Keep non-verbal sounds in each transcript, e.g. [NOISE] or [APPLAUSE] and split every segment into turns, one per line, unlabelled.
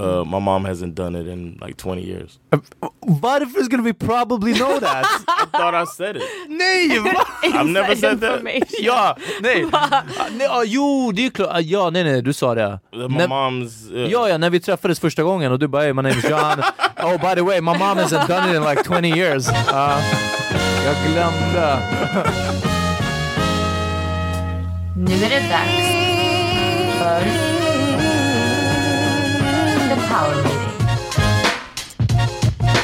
uh, my mom hasn't done it in like 20 years.
Varför skulle vi probably know that?
Oh, I thought I said it.
nej! Va?
I've never said that.
[LAUGHS] Ja, nej. Ah, nej ah, jo, det är klart. Ah, ja, nej, nej, du sa det.
My
När-
mom's. Uh,
Ja, ja, när vi träffades första gången och du bara hey, my name is [LAUGHS] John. oh, by the way, my mom hasn't done it in like 20 [LAUGHS] years. Ah, jag glömde.
Nu är det dags för The Power Meeting.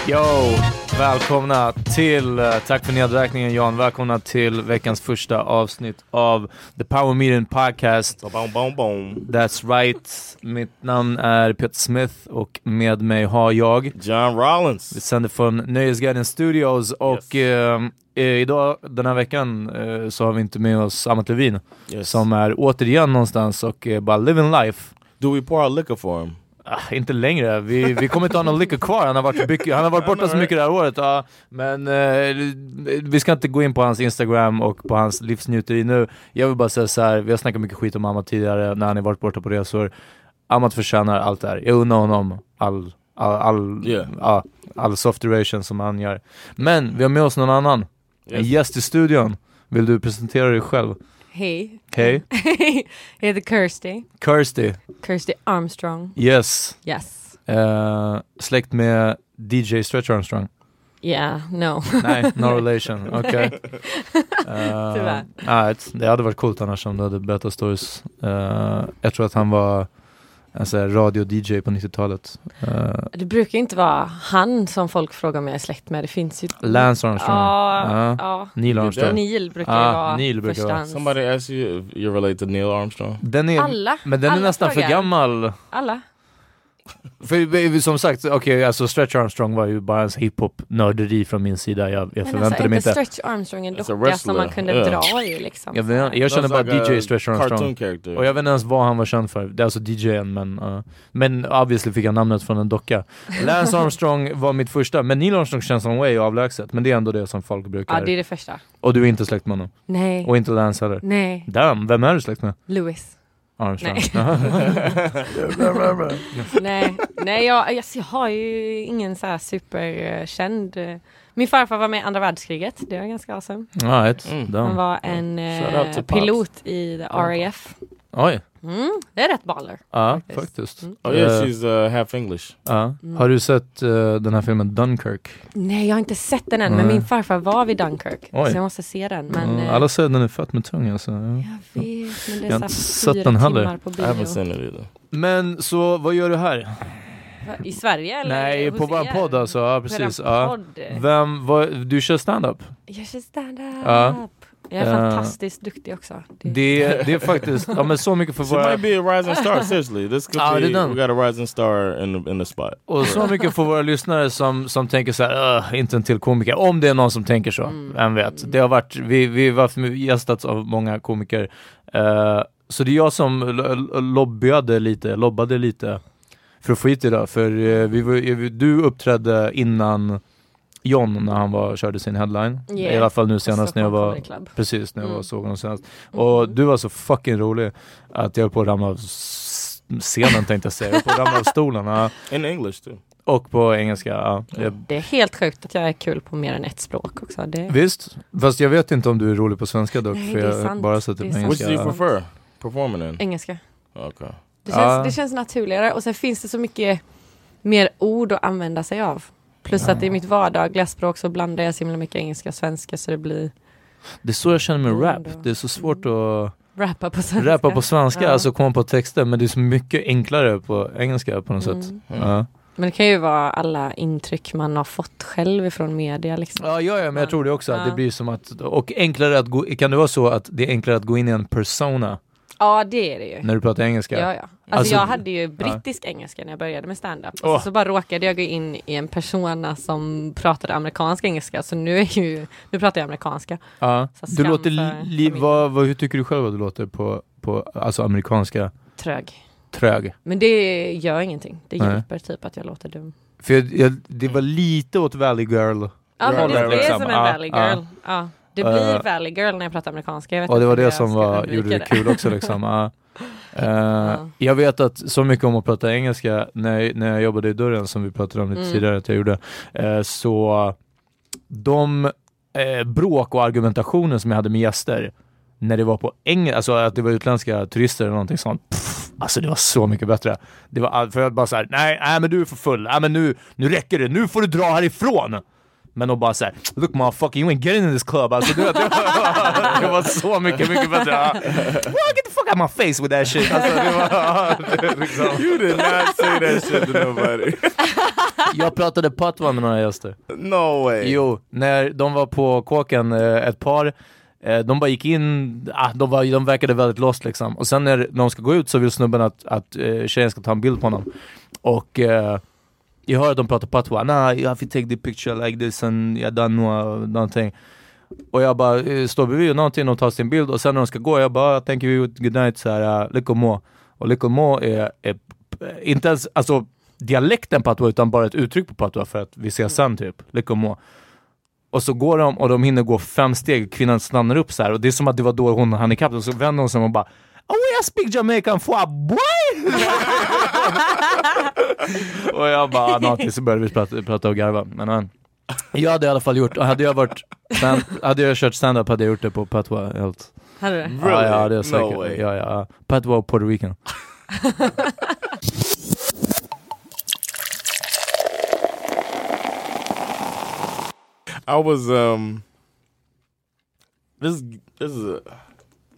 Yo! Välkomna till, eh, tack för nedräkningen Jan, välkomna till veckans första avsnitt av The Power Meeting Podcast.
Boom, boom, boom.
That's right, mitt namn är Peter Smith och med mig har jag,
John Rollins.
vi sänder från Nöjesguiden Studios och eh, eh, idag, den här veckan, eh, så har vi inte med oss Amat Levin
Yes.
som är återigen någonstans och eh, bara living life.
Do we pour our liquor for him?
Ah, inte längre. Vi, vi kommer inte ha någon lycka kvar. Han har varit, mycket, han har varit borta så mycket det här året. Ja, men eh, vi ska inte gå in på hans Instagram och på hans livsnjuteri nu. Jag vill bara säga så här. vi har snackat mycket skit om Amat tidigare när han har varit borta på resor. Amat förtjänar allt det här. Jag unnar honom all, all, all,
Yeah.
ja, all soft duration som han gör. Men vi har med oss någon annan. En
Yes.
gäst i studion. Vill du presentera dig själv?
[LAUGHS] Hej.
Hej.
Jag heter Kirsty.
Kirsty.
Kirsty Armstrong.
Yes.
Yes.
Eh, släkt med DJ Stretch Armstrong.
Yeah, no. [LAUGHS]
Nej, no relation. Okej.
Tyvärr.
Uh, det hade varit coolt annars om du hade berättat stories. Eh, jag tror att han var en sån här radio-DJ på 90-talet. Eh,
Det brukar inte vara han som folk frågar om jag är släkt med. Det finns ju...
Lance Armstrong.
Ja,
Ja.
ja.
Neil Armstrong.
Neil brukar ju
Ah,
vara
Neil brukar
första
vara.
hand.
Somebody asked you if you're related to Neil Armstrong.
Den är,
Alla.
men den är
alla
nästan för
frågar.
gammal
Alla.
För eh, som sagt, okej, alltså Stretch Armstrong var ju bara en sån hiphop-nörderi från min sida. Jag, jag
Men alltså
förväntade mig
inte
inte... Alltså,
Stretch Armstrong en
That's a
docka som man
wrestler.
kunde
Yeah.
dra i liksom.
Jag, vet, jag känner bara
Sounds like
DJ
a
Stretch
Cartoon
Armstrong.
character.
Och jag vet inte ens vad han var känd för. Det är alltså DJn, men... eh, men obviously fick han namnet från en [LAUGHS] docka. Lance Armstrong var mitt första, men Neil Armstrong känns som way avlägset. Men det är ändå det som folk brukar...
Ja, det är det första.
Och du är inte släkt med honom.
Nej,
Och inte Lance heller.
nej,
Damn, vem är du släkt med?
Louis.
Armstrong. [LAUGHS]
nej, nej jag, jag, jag har ju ingen så här superkänd. eh, Min farfar var med i andra världskriget. Det var ganska awesome.
Ja, ett.
Han
Damn.
var en
Shout
eh,
out to Pops.
pilot i the RAF.
Oj.
Mm, det är rätt baller.
Ja,
Faktiskt. Mm.
faktiskt.
Oh yeah,
Eh,
she's uh, half English.
ja. Har du sett eh, den här filmen Dunkirk?
Nej, jag har inte sett den än, men
Nej.
min farfar var vid Dunkirk.
Oj.
Så jag måste se den. Men,
Ja,
eh,
Mm. alla säger att den är fett med tung alltså. Ja.
Jag vet, men det är så
Jag har
här
inte sett
fyra
den heller.
timmar på
I haven't
bio.
seen it either.
Men så, vad gör du här?
Va, I Sverige eller?
Nej, på
hos
vår
er?
podd alltså. Ja,
På
precis.
er
Ja.
podd.
Vem, vad, du kör stand-up?
Jag kör stand-up.
Ja.
Jag är
Eh,
fantastiskt duktig också. Det- [LAUGHS]
Det, det är faktiskt, ja men så mycket för
She might
våra,
be a rising star. Seriously, this could
Ah,
be.
they're done.
We got a rising star in the in the spot.
och så mycket för våra lyssnare som, som tänker så här, "Ugh, inte en till komiker. Om det är någon som tänker så,
Mm.
vem vet. Det har varit, vi, vi har haft gästats av många komiker. Eh, så det är jag som lo- lo- lobbyade lite, lobbade lite för att få hit idag. För eh, vi, var- du uppträdde innan John när han var, körde sin headline.
Yeah. Alltså,
I alla fall nu senast när jag
Stockholm
var
Comedy Club.
Precis, när jag var
Mm.
såg honom senast. Och du var så fucking rolig att jag höll på att ramla av s- scenen tänkte jag säga. Jag höll på att ramla av stolen. Ja.
In English too.
Och på engelska. Ja. Jag,
Det är helt sjukt att jag är kul på mer än ett språk också. Det...
visst, fast jag vet inte om du är rolig på svenska dock.
Nej,
för
det är
jag har
sant.
bara sett
Det är
det på
sant.
Which
engelska.
do you
uh,
prefer performing in?
Engelska.
Okay.
Det känns,
Ja.
det känns naturligare och sen finns det så mycket mer ord att använda sig av. Plus att i mitt vardagliga språk så blandar jag så himla mycket engelska och svenska så det blir
Det är så jag känner med
Mm, då.
rap. Det är så svårt att
rappa på svenska.
rappa på svenska,
Ja.
alltså komma på texter. Men det är så mycket enklare på engelska på något
Mm.
sätt. Ja.
Men det kan ju vara alla intryck man har fått själv ifrån media liksom.
Ja, ja, ja, men jag
Ja.
tror det också. Att
Ja.
det blir som att, och enklare att gå, kan det vara så att det är enklare att gå in i en persona
Ja det är det ju.
när du pratar engelska?
Ja, ja. Alltså,
Alltså-
jag hade ju brittisk engelska när jag började med stand-up. Och
Åh.
så bara råkade jag gå in i en persona som pratade amerikansk engelska. Så nu, är ju, nu pratar jag amerikanska.
Ja.
Så
Du
skam
låter
för
li,
familjen.
vad, vad, hur tycker du själv att du låter på, på alltså amerikanska
Trög.
trög?
Men det gör ingenting. Det
Nej.
hjälper typ att jag låter dum.
För jag, jag, det var lite åt Valley Girl
Ja, men det,
Rollen,
det är
liksom.
som en
Ja,
valley girl.
ja.
Ja. Det blir
Eh,
valley girl när jag pratar amerikanska. Jag vet
och det
inte
var
hur
det
jag
som
ska
var,
undvika
gjorde det kul
[LAUGHS]
också liksom. Ja. Eh,
Ja.
Jag vet att så mycket om att prata engelska, när, jag- när jag jobbade i dörren som vi pratade om lite
Mm.
tidigare att jag gjorde, eh, så de eh, bråk och argumentationer som jag hade med gäster när det var på engelska, alltså att det var utländska turister eller någonting sånt. Pff, alltså det var så mycket bättre. Det var all- för jag bara såhär, nej, nej men du är för full, nej men nu, nu räcker det, nu får du dra härifrån! Men de bara såhär, look motherfucker you ain't getting in this club. Alltså du vet, [LAUGHS] det var, det var så mycket, mycket bättre. Ja. Well, get the fuck out my face with that shit. Alltså, det var, ja, det, liksom.
You did not say that shit to nobody.
Jag pratade patwa med några gäster.
no way.
Jo, när de var på kåken eh, ett par, eh, de bara gick in, ah, de, var, de verkade väldigt lost liksom. Och sen när de ska gå ut så vill snubben att, att eh, tjejen ska ta en bild på honom. Och eh, jag hör att de pratar patwa, nah, you have to take the picture like this and jag done no- någonting. Och jag bara eh, står bredvid och någonting och tar sin bild och sen när de ska gå, jag bara "Ah, thank you, good night, så här, uh, lycka må. Och lycka må är, är p- inte ens, alltså dialekten patwa utan bara ett uttryck på patwa för att vi ses sen typ, lycka må. Och så går de och de hinner gå fem steg, kvinnan stannar upp så här och det är som att det var då hon hann ikapp dem, så vänder hon sig om och bara Oh, I speak Jamaican for a boy! [LAUGHS] och jag bara, ah, någonting, så började vi prata, prata och garva. Men, han- jag hade i alla fall gjort, hade jag varit, men, hade jag kört stand-up hade jag gjort det på patwa helt.
Hade du det?
Really?
Ja, ja, det är
No
säkert.
way.
Ja, ja. Patwa och Puerto Rican.
I was um this this is a,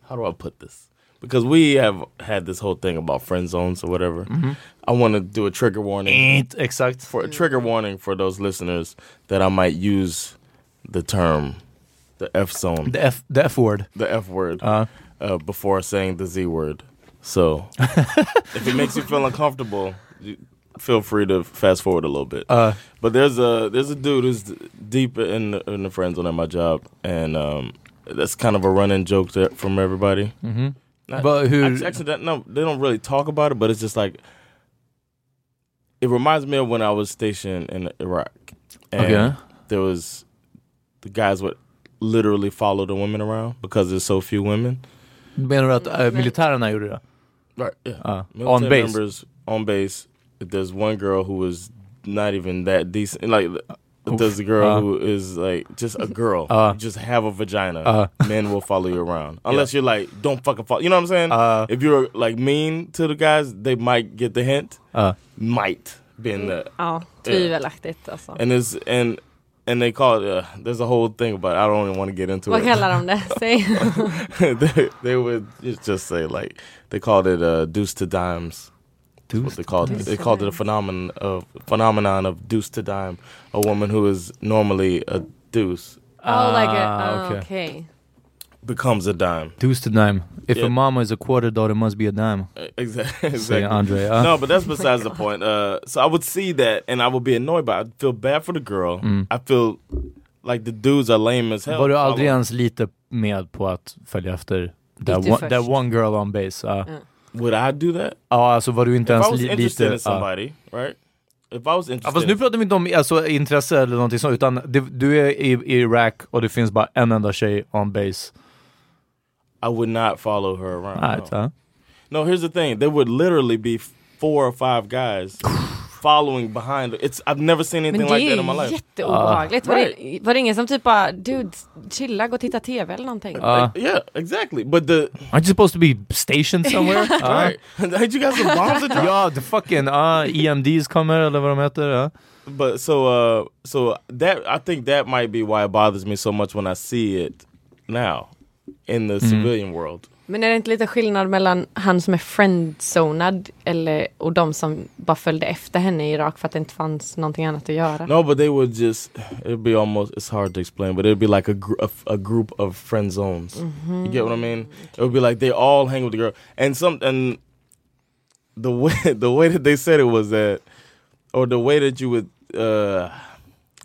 how do I put this? Because we have had this whole thing about friend zones or whatever. I want to do a trigger warning
Inte exakt.
for a trigger warning for those listeners that I might use the term the F zone,
The F, the F-word.
the F word
Uh.
uh, before saying the Z word. So if it makes you feel uncomfortable, you,
feel free to fast forward a little bit.
Uh,
But there's a there's a dude who's deep in the, in the friend zone at my job, and um, that's kind of a running joke to, from everybody.
mhm.
Not-
But who-
Actually, actually, that, no, they don't really talk about it, but it's just like it reminds me of when I was stationed in Iraq, and
Okay.
there was the guys would literally follow the women around because there's so few women.
Menar du att eh, militärerna gjorde det?
Right. Yeah.
Ja. on
Military
base.
members on base. There's one girl who was not even that decent. Like
Oof.
there's a girl
Uh.
who is like just a girl.
Uh.
You just have a vagina.
Uh.
Men will follow you around unless you're like don't fucking follow. You know what I'm saying?
Uh.
if you're like mean to the guys, they might get the hint.
Uh.
Might being the
Ja, tvivelaktigt alltså.
and it's and and they call it. Uh, there's a whole thing about. It. I don't even want to get into
Eh.
Vad
[LAUGHS] it.
kallar de
[LAUGHS]
det? Säg.
they, they would just say like they called it uh, deuce to dimes. That's what they called it.
Deuce
They
to
called it a
dime.
phenomenon of phenomenon of deuce to dime, a woman who is normally a deuce
Oh, like
Ah,
a,
okej.
okay. okay.
becomes a dime. [LAUGHS]
Deuce to dime. If
Yeah.
a mama is a quarter dollar must be a dime.
Exactly.
Säger Andre. Ja.
No, but that's besides the point. Uh, so I would see that, and I would be annoyed by. it. I feel bad for the girl. I feel like the dudes are lame as hell.
Var du aldrig ens lite med på att följa efter that
du
one,
först?
that one girl on base? Ja,
Would I do that?
Ja, alltså var du inte
If I
ens
was
li-
interested
lite...
in
ja.
somebody, right? If I was
Ja,
interested.
fast nu pratar vi inte om alltså, intresse eller någonting sånt, utan det, du är i, i Irak och det finns bara en enda tjej on base.
I would not follow her around. no.
Right, ja.
No, here's the thing. There would literally be four or five guys following behind. It's I've never seen
Men
anything
det
like that
är
in my
ju
life.
jätteobehagligt.
Ah.
Var, det, var det ingen som typ bara, dude, chilla, gå och titta tv eller någonting?
Ja.
Yeah, exactly. But the
Aren't you supposed to be stationed somewhere? [LAUGHS] Ja.
[LAUGHS] right. Ain't you got some bombs to drop?
Ja, the fucking ah, EMDs kommer eller vad de heter. ja.
But so uh so that I think that might be why it bothers me so much when I see it now in the civilian world.
Men är det inte lite skillnad mellan han som är friendzonad eller, och de som bara följde efter henne i Irak för att det inte fanns någonting annat att göra?
No, but they would just it'd be almost it's hard to explain, but it'd be like a gr- a, f- a group of friend zones. You get what I mean? It would be like they all hang with the girl, and some and the way [LAUGHS] the way that they said it was that, or the way that you would. Uh,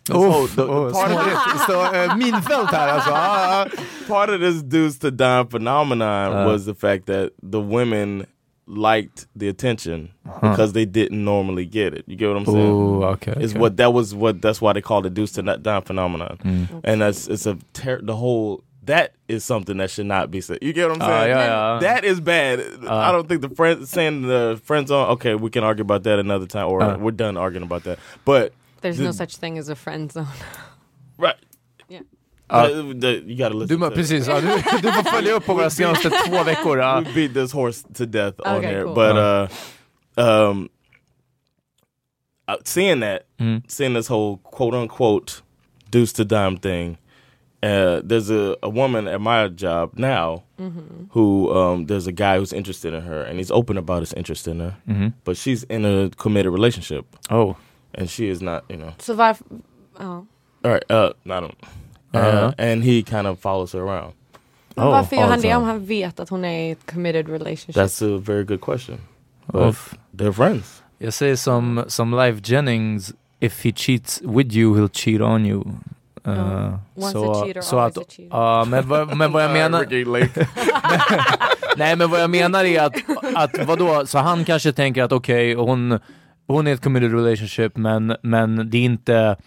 this whole- the- the part, of this, uh,
så eh, minfält här alltså. Ah, ah.
part of this dudes to dime phenomenon
Uh.
was the fact that the women liked the attention because they didn't normally get it. You get what
Oh,
I'm saying?
Ooh, okay,
is
okay.
what that was what that's why they call the deuce to not dime phenomenon,
Mm.
and that's it's a ter- the whole that is something that should not be said. You get what I'm
Ah,
saying?
ja, ja.
That is bad.
Uh.
I don't think the friend saying the friends on. Okay, we can argue about that another time, or
Uh.
we're done arguing about that. But
There's
the-
no such thing as a friendzone.
right,
Yeah.
Uh,
The- the- you gotta listen.
Du, men
to
precis, ja, du, du får följa upp på våra senaste två veckor. ja.
we beat this horse to death on
Uh, Okay,
here,
cool.
but uh, um, uh, seeing that,
Mm.
seeing this whole quote unquote deuce to dime thing, uh, there's a, a woman at my job now
Mm-hmm.
who um, there's a guy who's interested in her, and he's open about his interest in her,
Mhm.
but she's in a committed relationship,
Oh.
and she is not, you know,
[LAUGHS] Så varför, ja.
all right, uh, I don't. Uh,
Uh-huh.
And he kind of follows her around.
Men
Oh,
varför gör
all
han det
time.
om han vet att hon är i ett committed relationship?
alltså. That's a very good question. But
Oof.
they're friends.
Jag säger som, som Live Jennings, if he cheats with you he'll cheat on you. Uh,
Ja. Once a cheater,
så
always
att,
a cheater.
[LAUGHS] Ja, men, vad- men vad jag menar...
Ricky Lake.
Nej men vad jag menar är att, att vadå, så han kanske tänker att okej, hon, hon är i ett committed relationship men, men det är inte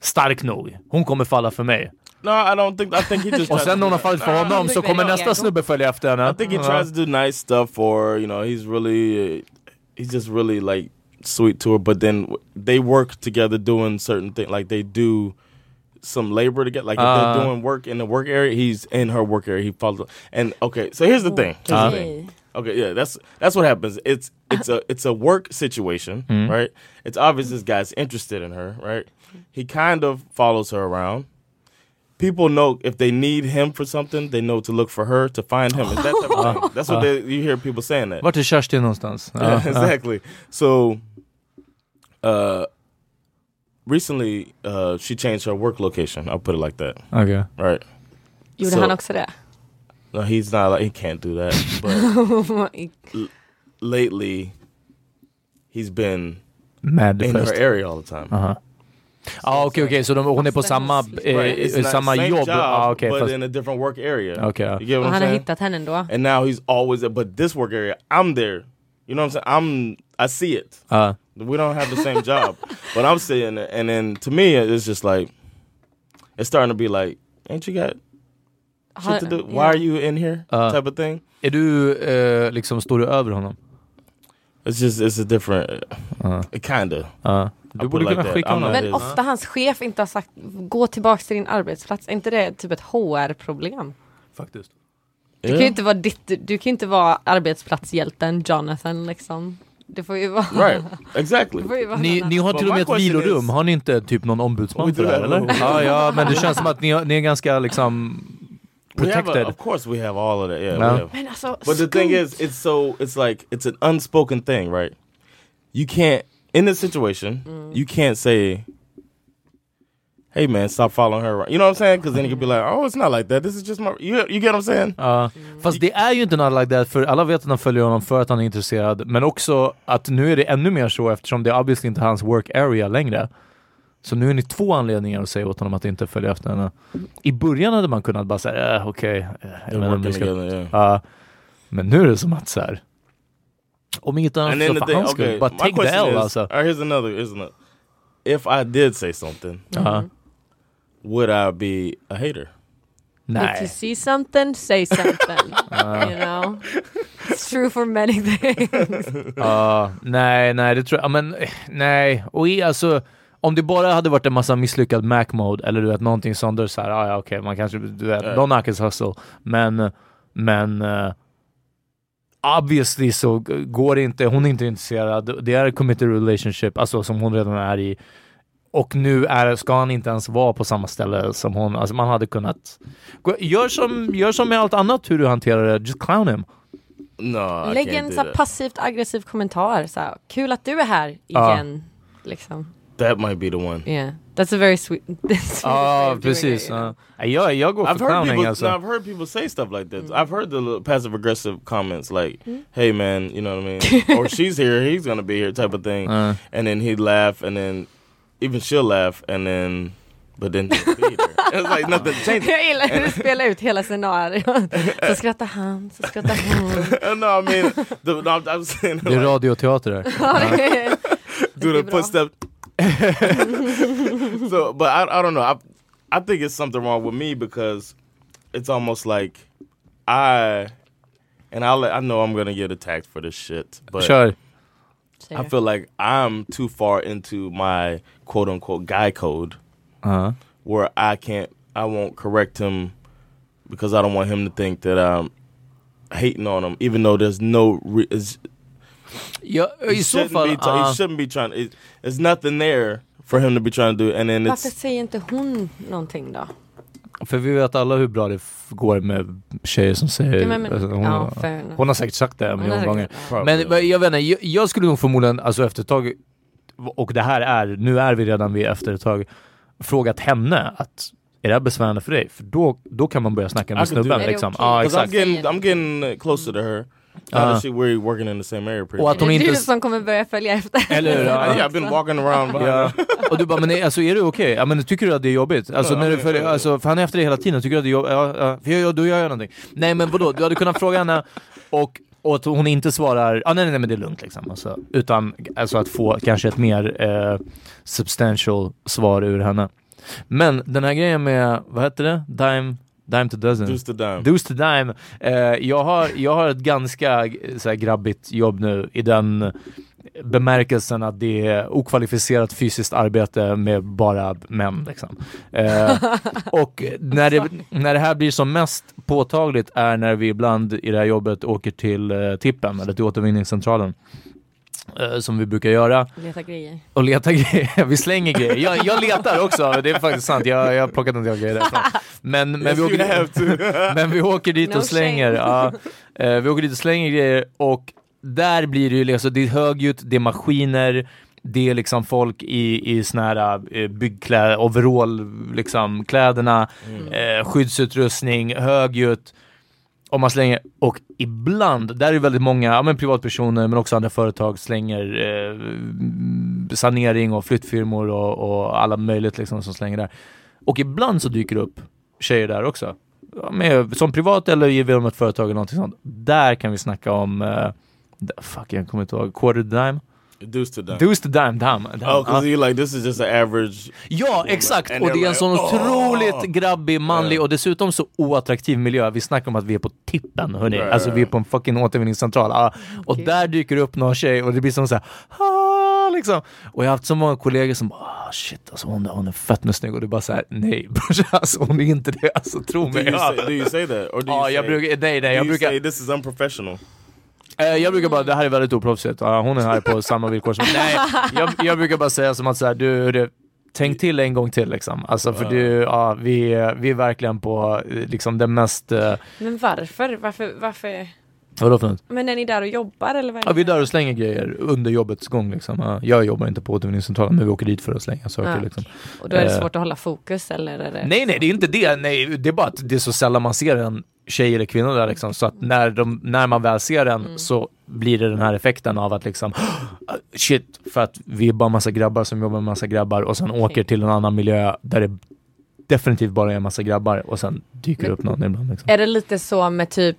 stark nog. Hon kommer falla för mig.
No, I don't think. I think he
[LAUGHS]
just.
Och
tries
sen
to
när hon
do
har fallit för honom så kommer nästa snubbe följa efter henne.
I think he tries to do nice stuff, or you know, he's really, he's just really like sweet to her. But then w- they work together doing certain things, like they do some labor together. Like if
Uh.
they're doing work in the work area, he's in her work area. He follows. And okay, so here's the thing. Here's the thing. Okay, yeah, that's that's what happens. It's it's a it's a work situation, right? It's obvious this guy's interested in her, right? He kind of follows her around people know if they need him for something, they know to look for her to find him. It's that type of thing. That's what they, you hear people saying that.
Vart är Kerstin någonstans?
Yeah, [LAUGHS]
Ja.
exactly. So, uh, recently uh, she changed her work location. I'll put it like that.
Okej.
Right?
Gjorde
så-
han också det? [LAUGHS]
No, he's not like he can't do that. But lately, he's been
Mad
in
First.
her area all the time.
Aha. Ja, okej, okej, så de, hon är på samma, eh,
Right, it's not
samma
same
jobb?
job,
Ah, okej,
but
fast,
in a different work area.
Okay, uh,
you get
Och
what I'm
han har
saying?
hittat henne ändå.
And now he's always there. But this work area, I'm there. You know what I'm saying? I'm I see it.
ah.
We don't have the same job, but I'm seeing it. And then to me, it's just like it's starting to be like, ain't you got
Har-
shit to do? Why
ja.
are you in here?
Uh.
type of thing.
Är du eh, liksom, står du över honom?
It's just it's a different
Uh.
kind of.
Ja.
I
Du
put
borde
it like
kunna
that.
skicka
I'm
honom.
not
Men
his-
ofta hans chef inte har sagt gå tillbaks till din arbetsplats. Är inte det typ ett HR-problem?
Faktiskt.
Du kan ju inte vara, ditt, du kan ju inte vara arbetsplatshjälten Jonathan liksom. Det får ju vara...
Right. Exactly.
Det får ju vara
Ni,
någon
ni har
But
till och
my
med ett
question
vilorum,
is-
har ni inte typ någon ombudsman
We
för
do
det här
have a
eller?
little-
Ja, ja, men det känns som att ni, har- ni är ganska liksom
We have a-
protected.
of course, we have all of that. Yeah.
No.
We have.
annan. Men alltså,
But the thing is, it's so it's like it's an unspoken thing, right? You can't in this situation, you can't say, "Hey, man, stop following her." around." You know what I'm saying? Because then you could be like, "Oh, it's not like that. This is just my." You you get what I'm saying?
Ja, fast det är ju inte något like that, för alla vet att han följer honom för att han är intresserad, men också att nu är det ännu mer så eftersom det obviously inte är hans work area längre. Så nu är ni två anledningar att säga åt honom att inte följa efter henne. I början hade man kunnat bara säga äh, okej, eh, jag
They're
vet inte om
working
vi ska...
together, yeah.
Ja. men nu är det som att så här. Om inget annat
And then
så
the
för
thing,
hans skull,
okay,
bara
my
take the
question
L
is,
alltså.
all right, here's another, here's another. If I did say something,
Ja.
would I be a hater?
If you
Nej.
see something, say
[LAUGHS]
something. you know? It's true for many things.
Ja, nej, nej, det tror jag. ja, Men eh, nej, och i, alltså om det bara hade varit en massa misslyckad Mac-mode eller du vet någonting sånt där så här, ah, ja okej, man kanske, du vet,
Ja.
don't knock his hustle. Men, men eh, obviously så g- går det inte, hon är inte intresserad, det är a committed relationship, alltså som hon redan är i. Och nu är, ska han inte ens vara på samma ställe som hon, alltså man hade kunnat. Gå- Gör som, gör som med allt annat hur du hanterar det, just clown him.
No, I
Lägg
can't
en
do
så här
that.
passivt aggressiv kommentar. Så här, Kul att du är här
Ja.
igen. Liksom.
that might be the one.
Yeah. That's a very sweet... [LAUGHS] that's a very sweet way
Ja,
of doing it,
precis.
you know?
ja. Nej, Jag, jag går för
I've heard
clowning uh,
people.
alltså.
no, I've heard people say stuff like this. I've heard the little passive aggressive comments like, "Hey man, you know what I mean?" or "She's here, he's gonna be here," type of thing.
Uh.
And then he'd laugh, and then even she'll laugh, and then but then he'll be there. [LAUGHS] it's like nothing
[LAUGHS]
changes.
Jag gillar hur du spelar ut hela
[LAUGHS]
scenariot. Så skrattar han, så skrattar hon.
[LAUGHS] no, I mean, the, no, I'm, I'm saying
Det är
like,
radioteater här.
[LAUGHS] Ja, det är-
do
blir
the
bra.
footstep. [LAUGHS] so, but I, I don't know. I I think it's something wrong with me because it's almost like I. And I, I know I'm gonna get attacked for this shit, but
Kör.
I feel like I'm too far into my quote unquote guy code
Ja.
where I can't, I won't correct him because I don't want him to think that I'm hating on him, even though there's no, re- it's,
Ja, I så
shouldn't
fall...
be try-
ah.
he shouldn't be trying, it, there's nothing there for him to be trying to do. And then
Varför
it's,
säger inte hon någonting då?
Eh, För vi vet alla hur bra det f- går med tjejer som säger...
Ja, men- men-
alltså, hon,
ja, fair enough.
hon har säkert sagt det en
Hon har
miljon
säkert- ja.
gånger. Men men jag vet inte, jag, jag skulle nog förmodligen, alltså efter ett tag, och det här är, nu är vi redan vid efter ett tag, frågat henne att är det här besvärande för dig? För då, då kan man börja snacka med
I could do
snubben
that.
liksom.
Är det okej?
Ja,
because I'm
exakt.
getting, I'm getting closer to her. Now
Uh.
that she, we're working in the same area pretty
Well, I
much.
Det
Hon
är
inte
du
s-
som kommer börja följa efter.
Eller hur? Ja.
yeah, I've been walking around behind
Ja. Och du bara, men är- alltså, är det okej? Ja, men tycker du att det är jobbigt? Alltså,
Ja,
när du
ja,
följer,
ja.
alltså, för han är efter dig hela tiden, tycker du att det är jobbigt? Ja, ja, för jag, jag, då gör jag någonting. Nej men vadå, du hade kunnat fråga henne och, och att hon inte svarar, ah, nej nej nej men det är lugnt liksom. Alltså, utan alltså, att få kanske ett mer eh, substantial svar ur henne. Men den här grejen med, vad heter det? Dime, dime to dozen?
Deuce to dime.
Deuce to dime. Eh, jag, har, jag har ett ganska eh, så här, grabbigt jobb nu i den bemärkelsen att det är okvalificerat fysiskt arbete med bara män. Liksom. Eh, och när det, när det här blir som mest påtagligt är när vi ibland i det här jobbet åker till eh, tippen eller till återvinningscentralen. eh, Som vi brukar göra
Leta grejer.
och leta grejer. [LAUGHS] Vi slänger grejer. Jag, jag letar också, det är faktiskt sant. Jag, jag har plockat en del grejer därifrån. Men, men, vi,
you
åker,
have to.
[LAUGHS] men vi åker dit
No
och slänger. Ja, Eh, vi åker dit och slänger grejer och där blir det ju liksom, det är högljutt, det är maskiner, det är liksom folk i, i såna här eh, byggklä,
Mm.
overall, liksom kläderna, eh, skyddsutrustning, högljutt. om man slänger, och ibland, där är väldigt många ja, men privatpersoner men också andra företag slänger eh, sanering och flyttfirmor och, och alla möjligt liksom som slänger där. Och ibland så dyker det upp tjejer där också. Ja, Med, som privat eller genom ett företag eller någonting sånt. Där kan vi snacka om, eh, d- fuck jag kommer inte ihåg, quarter dime?
Deuce to them.
Deuce Uh-huh. to dime, dime. dime.
Oh, because
Ja.
you like this is just an average.
Ja, exakt!
And
Och det är
they're
en sån
like,
otroligt grabbig, manlig och dessutom så oattraktiv miljö. Vi snackar om att vi är på tippen, hörni.
Right,
Alltså vi är på en fucking återvinningscentral. Ah, och där dyker det upp någon tjej och det blir som såhär, ah, liksom. Och jag har haft så många kollegor som bara, ah, shit alltså hon, hon är fett med snygg. Och det är bara såhär, nej [LAUGHS] brorsan, alltså, hon är inte det. Alltså tro
Do
mig.
you,
Ja.
say, do you say that
[LAUGHS]
or do you
Ja,
say,
jag brukar, nej,
do
nej, jag
you
brukar,
say this is unprofessional?
Eh, jag brukar bara, det här är väldigt oproffsigt. Ja, hon är här på samma villkor som Nej, jag, jag brukar bara säga som att så här, du, hörru, tänk till en gång till liksom. Alltså för du, ja, vi, är- vi är verkligen på eh, liksom den mest, eh,
Men varför? Varför? varför?
vadå för något?
Men är ni där och jobbar eller vad är
Ja, vi
ni
är där och slänger grejer under jobbets gång liksom. Ja, jag jobbar inte på återvinningscentralen, men vi åker dit för att slänga saker
Ja.
liksom.
Och då är det
eh,
svårt att hålla fokus eller? Är det...
Nej, nej, det är inte det. Nej, det är bara att det är så sällan man ser en tjej eller kvinna där liksom. Så att när, de, när man väl ser den
Mm.
så blir det den här effekten av att liksom shit, för att vi är bara massa grabbar som jobbar med massa grabbar och sen åker till en annan miljö där det definitivt bara är en massa grabbar och sen dyker det upp någon ibland liksom.
Är det lite så med typ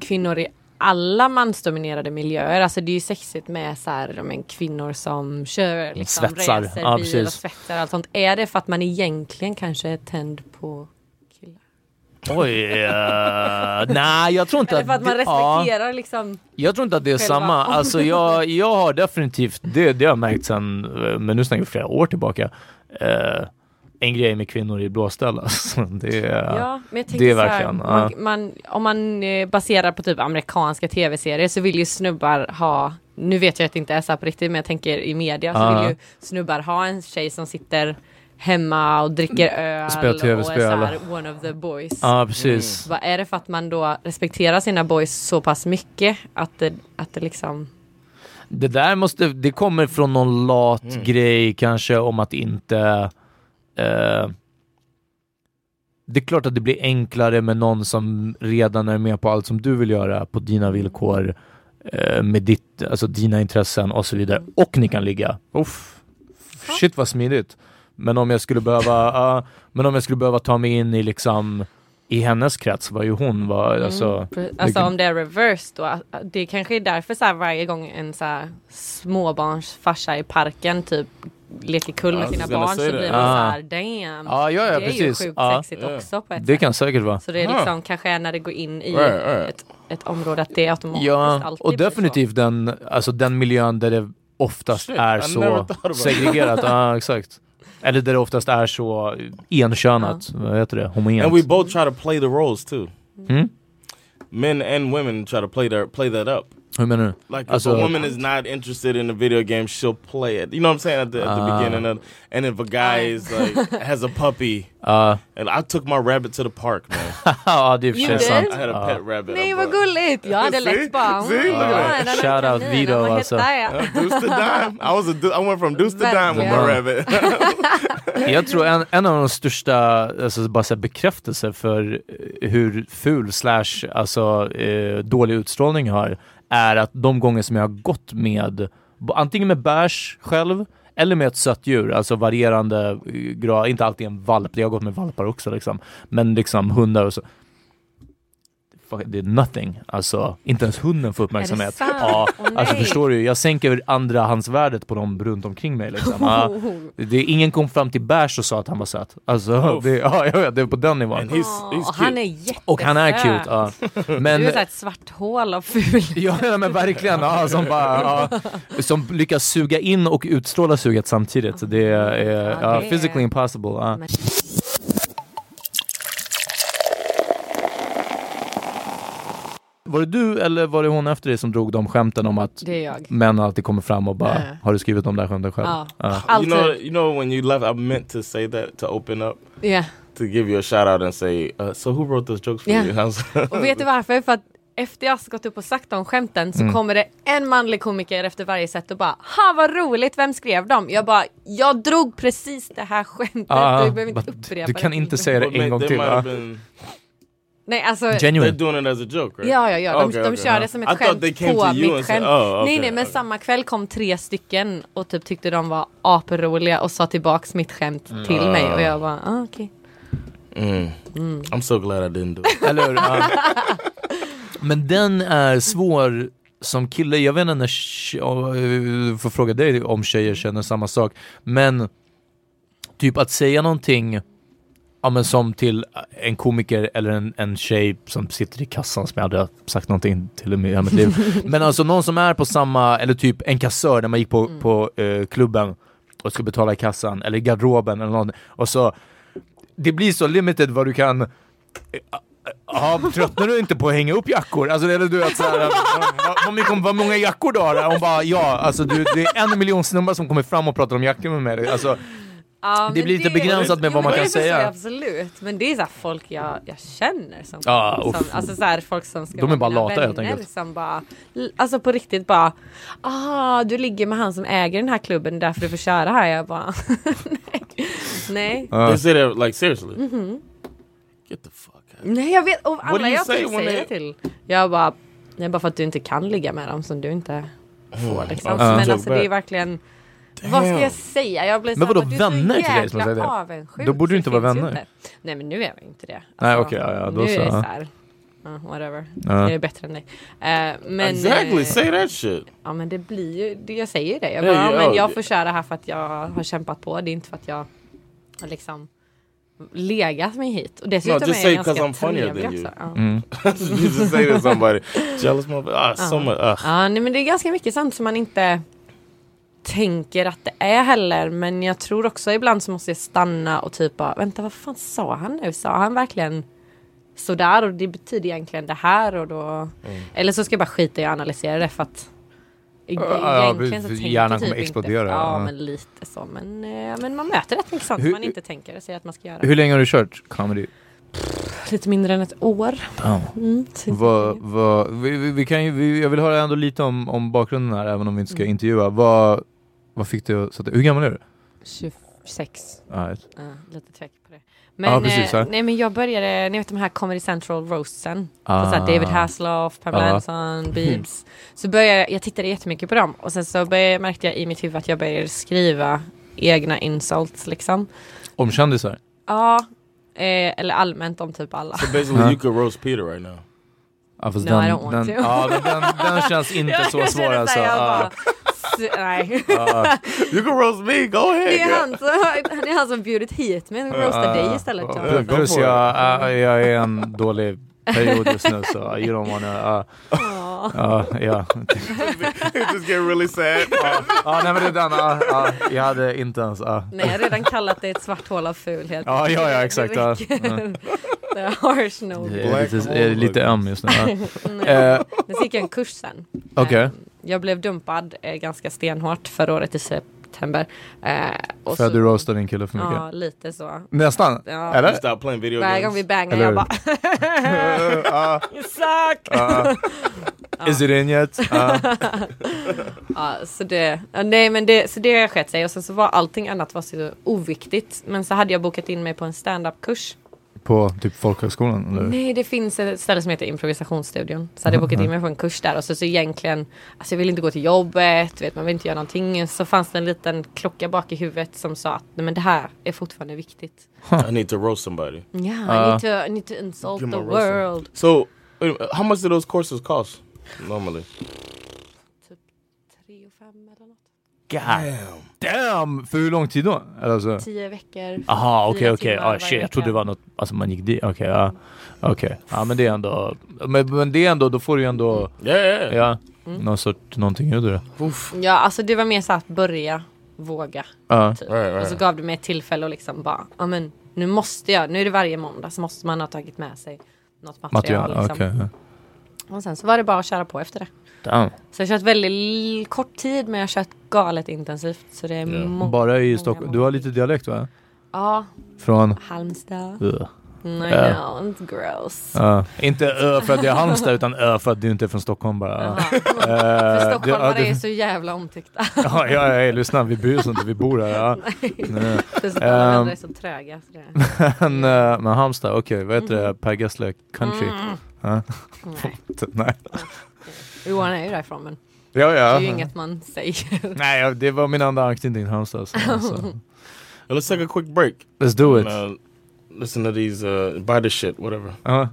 kvinnor i alla mansdominerade miljöer? Alltså det är ju sexigt med så här, ja, men kvinnor som kör, liksom,
Svetsar.
reser
Ja,
bil
precis.
och svetsar och allt sånt. Är det för att man egentligen kanske är tänd på killar?
Oj, eh, nej, jag tror inte
Eller för att man
det- ja.
respekterar liksom
Jag tror inte att det är
Själva. [LAUGHS]
samma. Alltså jag, jag har definitivt, det, det har jag märkt sen, eh, men nu snackar vi flera år tillbaka, eh, en grej med kvinnor i blåställ [LAUGHS] alltså. Det är,
Ja, men jag
det
tänker
är
så här,
verkligen,
man,
ja.
man, om man eh, baserar på typ amerikanska tv-serier så vill ju snubbar ha, nu vet jag att det inte är så här på riktigt men jag tänker i media så
Ja.
vill ju snubbar ha en tjej som sitter hemma och dricker öl
Mm. Spelar
och är så här,
TV-spel.
one of the boys.
Ja, precis.
Vad är det för att man då respekterar sina boys så pass mycket att det, att det liksom
Det där måste, det kommer från någon lat grej kanske om att inte... eh, det är klart att det blir enklare med någon som redan är med på allt som du vill göra på dina villkor, eh, med ditt, alltså dina intressen och så vidare. Och ni kan ligga. Uff. Shit vad smidigt. Men om jag skulle behöva, ja, men om jag skulle behöva ta mig in i liksom i hennes krets, vad ju hon var, alltså,
Pre- Alltså om det är reverse då, att- att det kanske är därför så här varje gång en så här småbarnsfarsa i parken typ leker kull med
Ja, alltså,
sina
jag skulle
barn så
säga det.
blir man
Ah.
så här damn.
Ja, ja, ja,
det är ju
precis.
sjukt
Ja.
sexigt också på ett
det
sätt.
kan Ah. säkert vara.
Så det är liksom kanske är när det går in i
Right, right.
Ett, ett område att det automatiskt
Ja,
alltid
och
blir så.
definitivt den, alltså den miljön där det oftast
Shit,
är
I never
så
thought about it. [LAUGHS]
segregerat. ja, exakt. Eller där det oftast är så enkönat. Vad heter det? Homogent.
And we both try to play the roles too.
Hmm?
Men and women try to play their play that up.
Hur menar du?
Like if
Alltså-
a woman is not interested in a video game, she'll play it. You know what I'm saying at the, at the
Ah.
beginning. Of, and if a guy is like has a
[LAUGHS]
puppy,
Ja,
and I took my rabbit to the park,
[LAUGHS]
man.
Ja, det är i och för
You
sig
did?
sant.
I had a pet rabbit.
Nej
I'm
vad
like, [LAUGHS]
gulligt! Jag hade lätt bara
See? Look at that.
den här
Ah, Shout out
kaninen,
Vito,
vad hette
alltså.
jag?
Uh, Deuce to dime. I was a du- I went from deuce to dime with my
Wow.
rabbit.
[LAUGHS]
[LAUGHS]
Jag tror en, en av de största alltså, bara så här, bekräftelser för eh, hur ful slash alltså, eh, dålig utstrålning jag har är att de gånger som jag har gått med b- antingen med bärs själv eller med ett sött djur, alltså varierande eh, grad, inte alltid en valp, jag har gått med valpar också liksom, men liksom hundar och så. Fuck, Det är nothing, alltså inte ens hunden får uppmärksamhet.
sant?
Ja,
Åh,
alltså
nej.
förstår du, jag sänker andrahandsvärdet på dem runt omkring mig liksom.
[LAUGHS]
Ja. Det, ingen kom fram till Bärs och sa att han var söt. Alltså, [LAUGHS] det, ja, ja, ja, det är på den nivån.
he's, he's
Åh,
cute.
han är jättesöt!
Och han är cute.
[LAUGHS]
Ja. Men,
Du är så här ett svart hål av ful
[LAUGHS] ja, ja, men verkligen. Ja, som, bara, ja, som lyckas suga in och utstråla suget samtidigt. Så Det är ja,
Ah, det är-
physically impossible. Ja. Var det du eller var det hon efter dig som drog de skämten om att
Det är jag.
män alltid kommer fram och bara
Nej.
“Har du skrivit de där skämten själv?”
Ja.
[LAUGHS] Ja.
You
Alltid.
know, you know when you left, I meant to say that to open up
Ja.
to give you a shout out and say, uh, so who wrote those jokes for
Yeah.
you? [LAUGHS] And I was-
Och vet du varför? För att efter jag har gått upp och sagt de skämten så
Mm.
kommer det en manlig komiker efter varje set och bara Ha vad roligt, vem skrev dem? Jag bara Jag drog precis det här skämtet,
Ja,
du behöver
bara,
inte upprepa
Ah, du kan
det.
inte säga det
Well,
en
may-
gång
they
till.
might
ja.
have been-
Nej alltså,
They're
Genuine.
doing it as a joke, right?
Ja, ja, ja. De,
Okay,
de
okay,
kör
huh?
det som
I
ett
thought
skämt
they came to
på
you
mitt
and said-
skämt.
oh,
nej,
okay,
nej, men
okay.
samma kväll kom tre stycken och typ tyckte de var aperoliga och sa tillbaks mitt skämt
Mm.
till mig och jag bara, ah, okej.
I'm so glad I didn't do
[LAUGHS]
it.
Eller hur? Ja. Men den är svår som kille. Jag vet inte när... tje- ja, eh, Får fråga dig om tjejer känner samma sak. Men typ att säga någonting ja, men som till en komiker eller en, en tjej som sitter i kassan som jag aldrig har sagt någonting till i hela mitt liv. Men alltså någon som är på samma, eller typ en kassör när man gick på, på eh, klubben och ska betala i kassan eller i garderoben eller någon och så det blir så limited vad du kan Ja, tröttnar du inte på att hänga upp jackor? Alltså, eller du vet såhär, vad, vad, mycket- vad många jackor du har? Hon bara, ja, alltså du, det är en miljon snubbar som kommer fram och pratar om jackor med mig. Alltså,
Ja,
Det
men
blir lite begränsat med
jo,
vad
men
man
det
kan
förstår jag
säga.
Absolut, men det är så här folk jag, jag känner som,
Ja,
som
uff.
alltså så här folk som ska
De är
vara
bara
mina
lata, helt
vänner
enkelt.
som bara, l- alltså på riktigt bara, ah du ligger med han som äger den här klubben, därför du får köra här. Jag bara, [LAUGHS] nej, nej,
Uh. they say that like seriously.
Mm.
Get the fuck out.
nej jag vet, och
do
alla
you
jag
say
typ
when
säger
they-
till, jag bara, nej bara för att du inte kan ligga med dem som du inte får liksom.
Ja,
Men
joke
alltså det är
back.
verkligen Vad ska
Damn.
jag säga? Jag blir så
Men
här
vadå,
bara, du är så
vänner till dig som
jäkla
säger det?
avundsjuk,
Då borde du
det
inte vara
finns ju
vänner.
inte. Nej men nu är jag ju inte det. Alltså,
Nej, okej, ja, ja, då
nu
så,
är det
ja.
så här. ja, whatever,
Ja.
jag är bättre än dig. Eh, men,
Exactly,
eh,
say that shit. [LAUGHS]
ja men det blir ju, det, jag säger ju det. Jag,
Ja,
bara, ja,
ja,
men jag
det-
får köra här för att jag har kämpat på. Det är inte för att jag har liksom legat mig hit. Och dessutom
No, just
är
say
jag
'cause
ganska
I'm funnier
trevlig
than you.
också. Ja.
you just say to somebody, jealous motherfucker. Ah, so much. ah.
Ja, nej, men det är ganska mycket sånt som man inte tänker att det är heller. Men jag tror också ibland så måste jag stanna och typ bara, vänta vad fan sa han nu? Sa han verkligen sådär och det betyder egentligen det här och då. Eller så ska jag bara skita i att analysera det för att
Mm. ja,
Egentligen så
precis.
tänker
Hjärnan
jag typ
kommer explodera,
Inte. Ja,
ja.
men lite så. Men, eh, men man möter rätt mycket sånt
Hur-
som man inte tänker sig att man ska göra.
hur länge har du kört comedy?
Lite mindre än ett år. Mm, så-
Vad, vad, vi, vi, vi kan ju, vi, jag vill höra ändå lite om, om bakgrunden här, även om vi inte ska intervjua. Vad, vad fick du att sätta- Hur gammal är du?
26.
Ja, ett-
Ja, lite tvek på det. Men,
Ja, precis,
eh,
ja.
nej, men jag började, ni vet de här Comedy Central roastsen.
Ah.
Ah. Så här David Hasselhoff, Pamela
Ja.
Anderson, Biebs. Så började jag, jag tittade jättemycket på dem och sen så började, märkte jag i mitt huvud att jag började skriva egna insults liksom.
Om kändisar?
Ja, eh, eller allmänt om typ alla.
So basically,
Huh?
you could roast Peter right now.
Ja, fast
No, I don't want
den,
to.
ja, men den,
[LAUGHS]
den känns [LAUGHS] inte så
Jag
svår
känner
alltså.
så
Ah,
här, jag
Ja.
bara, s- Nej,
You can roast me. Go ahead.
[LAUGHS] det är,
girl.
han som, det är han som bjudit hit mig och roastar dig istället.
Plus-
Jonathan.
Plus jag, jag, jag är i en dålig period just nu så you don't wanna... äh.
Ja.
Ja, ja.
[LAUGHS] It just get really sad. [LAUGHS]
Ja, nej men det är den. Ja, ja, jag hade inte ens... äh. Ja,
Nej, jag har redan kallat det ett svart hål av fulhet.
ja, ja, ja exakt. Ja. Mm.
Det räcker. [LAUGHS] Det är harsh nog.
Jag är lite, jag är lite öm just nu.
Mm.
Ja. Eh,
Men så gick jag en kurs sen.
Okej.
Eh, Jag blev dumpad eh, ganska stenhårt förra året i september. Eh, och
För att
så-
du roastade din kille för mycket.
Ja, lite så.
Nästan? Äh,
Ja.
Eller?
You stop playing video
Varje gång
games.
vi bangar
Eller
jag
hur?
bara
[LAUGHS]
[LAUGHS] You suck!
Is it in
[LAUGHS]
yet? Äh, Ja.
Ja, så det, ja, nej men det, så det sket sig och sen så var allting annat var så oviktigt. Men så hade jag bokat in mig på en stand-up-kurs.
på typ folkhögskolan eller?
Nej, det finns ett ställe som heter improvisationsstudion. Så hade jag bokat in mig på en kurs där och så, så egentligen, alltså jag vill inte gå till jobbet, du vet, man vill inte göra någonting. Så fanns det en liten klocka bak i huvudet som sa att nej men det här är fortfarande viktigt.
I need to roast somebody.
Ja,
Ja.
I, need to, I need to insult
Give
the
him a roast.
world.
So, wait a minute, how much do those courses cost normally?
Tre och fem eller något.
Damn.
Damn! För hur lång tid då? Eller alltså- så?
Tio veckor.
Aha, okej
Fyra
okej.
timmar
Ah,
varje
shit, jag
vecka.
trodde det var något, alltså man gick dit. Okej, ja. Okej. Ja men det är ändå, men, men det är ändå, då får du ju ändå,
Mm.
Yeah, yeah. yeah.
ja, någon sorts, någonting ur det.
Ja, alltså det var mer så att börja våga.
Ja.
Typ.
Right, right.
Och så gav det mig ett tillfälle att liksom bara, ja men nu måste jag, nu är det varje måndag så måste man ha tagit med sig något material.
Material,
Liksom.
okej. ja.
Och sen så var det bara att köra på efter det.
Damn.
Så jag har kört väldigt l- kort tid men jag har kört galet intensivt. Så det är många.
Bara i
många,
Stockholm.
många
Du har
timmar.
lite dialekt va?
Ja,
Från?
Halmstad.
Ugh.
I know,
Ja.
it's gross.
Ja. inte ö för att jag är Halmstad utan ö för att du inte är från Stockholm bara. [LAUGHS]
Jaha.
Eh,
För
det-
stockholmare
ja, det-
är så jävla [LAUGHS] omtyckta.
[LAUGHS] Ja, ja, ja, ja, lyssna, vi bryr oss inte, vi bor här.
[LAUGHS]
Ja. Nej.
Det är Alltså, så alla
Ehm.
är så tröga. Så det är.
Men, eh, men Halmstad, okej, vad heter det? Per Gessle country? Ja.
Mm. Nej.
[LAUGHS] Nej.
Johan är ju därifrån men
Ja,
det
ja.
är ju inget man
[LAUGHS]
säger.
Nej, ja, det var min enda anknytning till Halmstad. Så,
[LAUGHS]
så.
Let's take a quick break.
Let's do it.
And, uh, listen to these, uh, buy this shit, whatever.
Ja.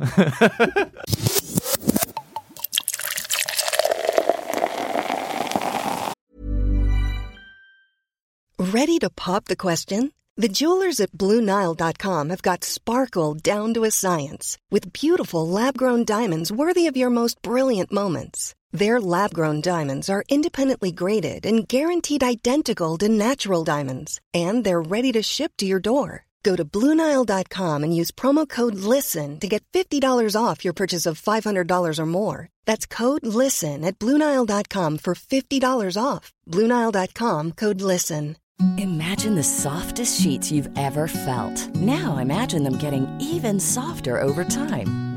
Ready to pop the question? The jewelers at BlueNile.com have got sparkle down to a science with beautiful lab grown diamonds worthy of your most brilliant moments. Their lab grown diamonds are independently graded and guaranteed identical to natural diamonds, and they're ready to ship to your door. Go to BlueNile.com and use promo code LISTEN to get $50 off your purchase of $500 or more. That's code LISTEN at BlueNile.com for $50 off. BlueNile.com code LISTEN.
Imagine the softest sheets you've ever felt. Now imagine them getting even softer over time.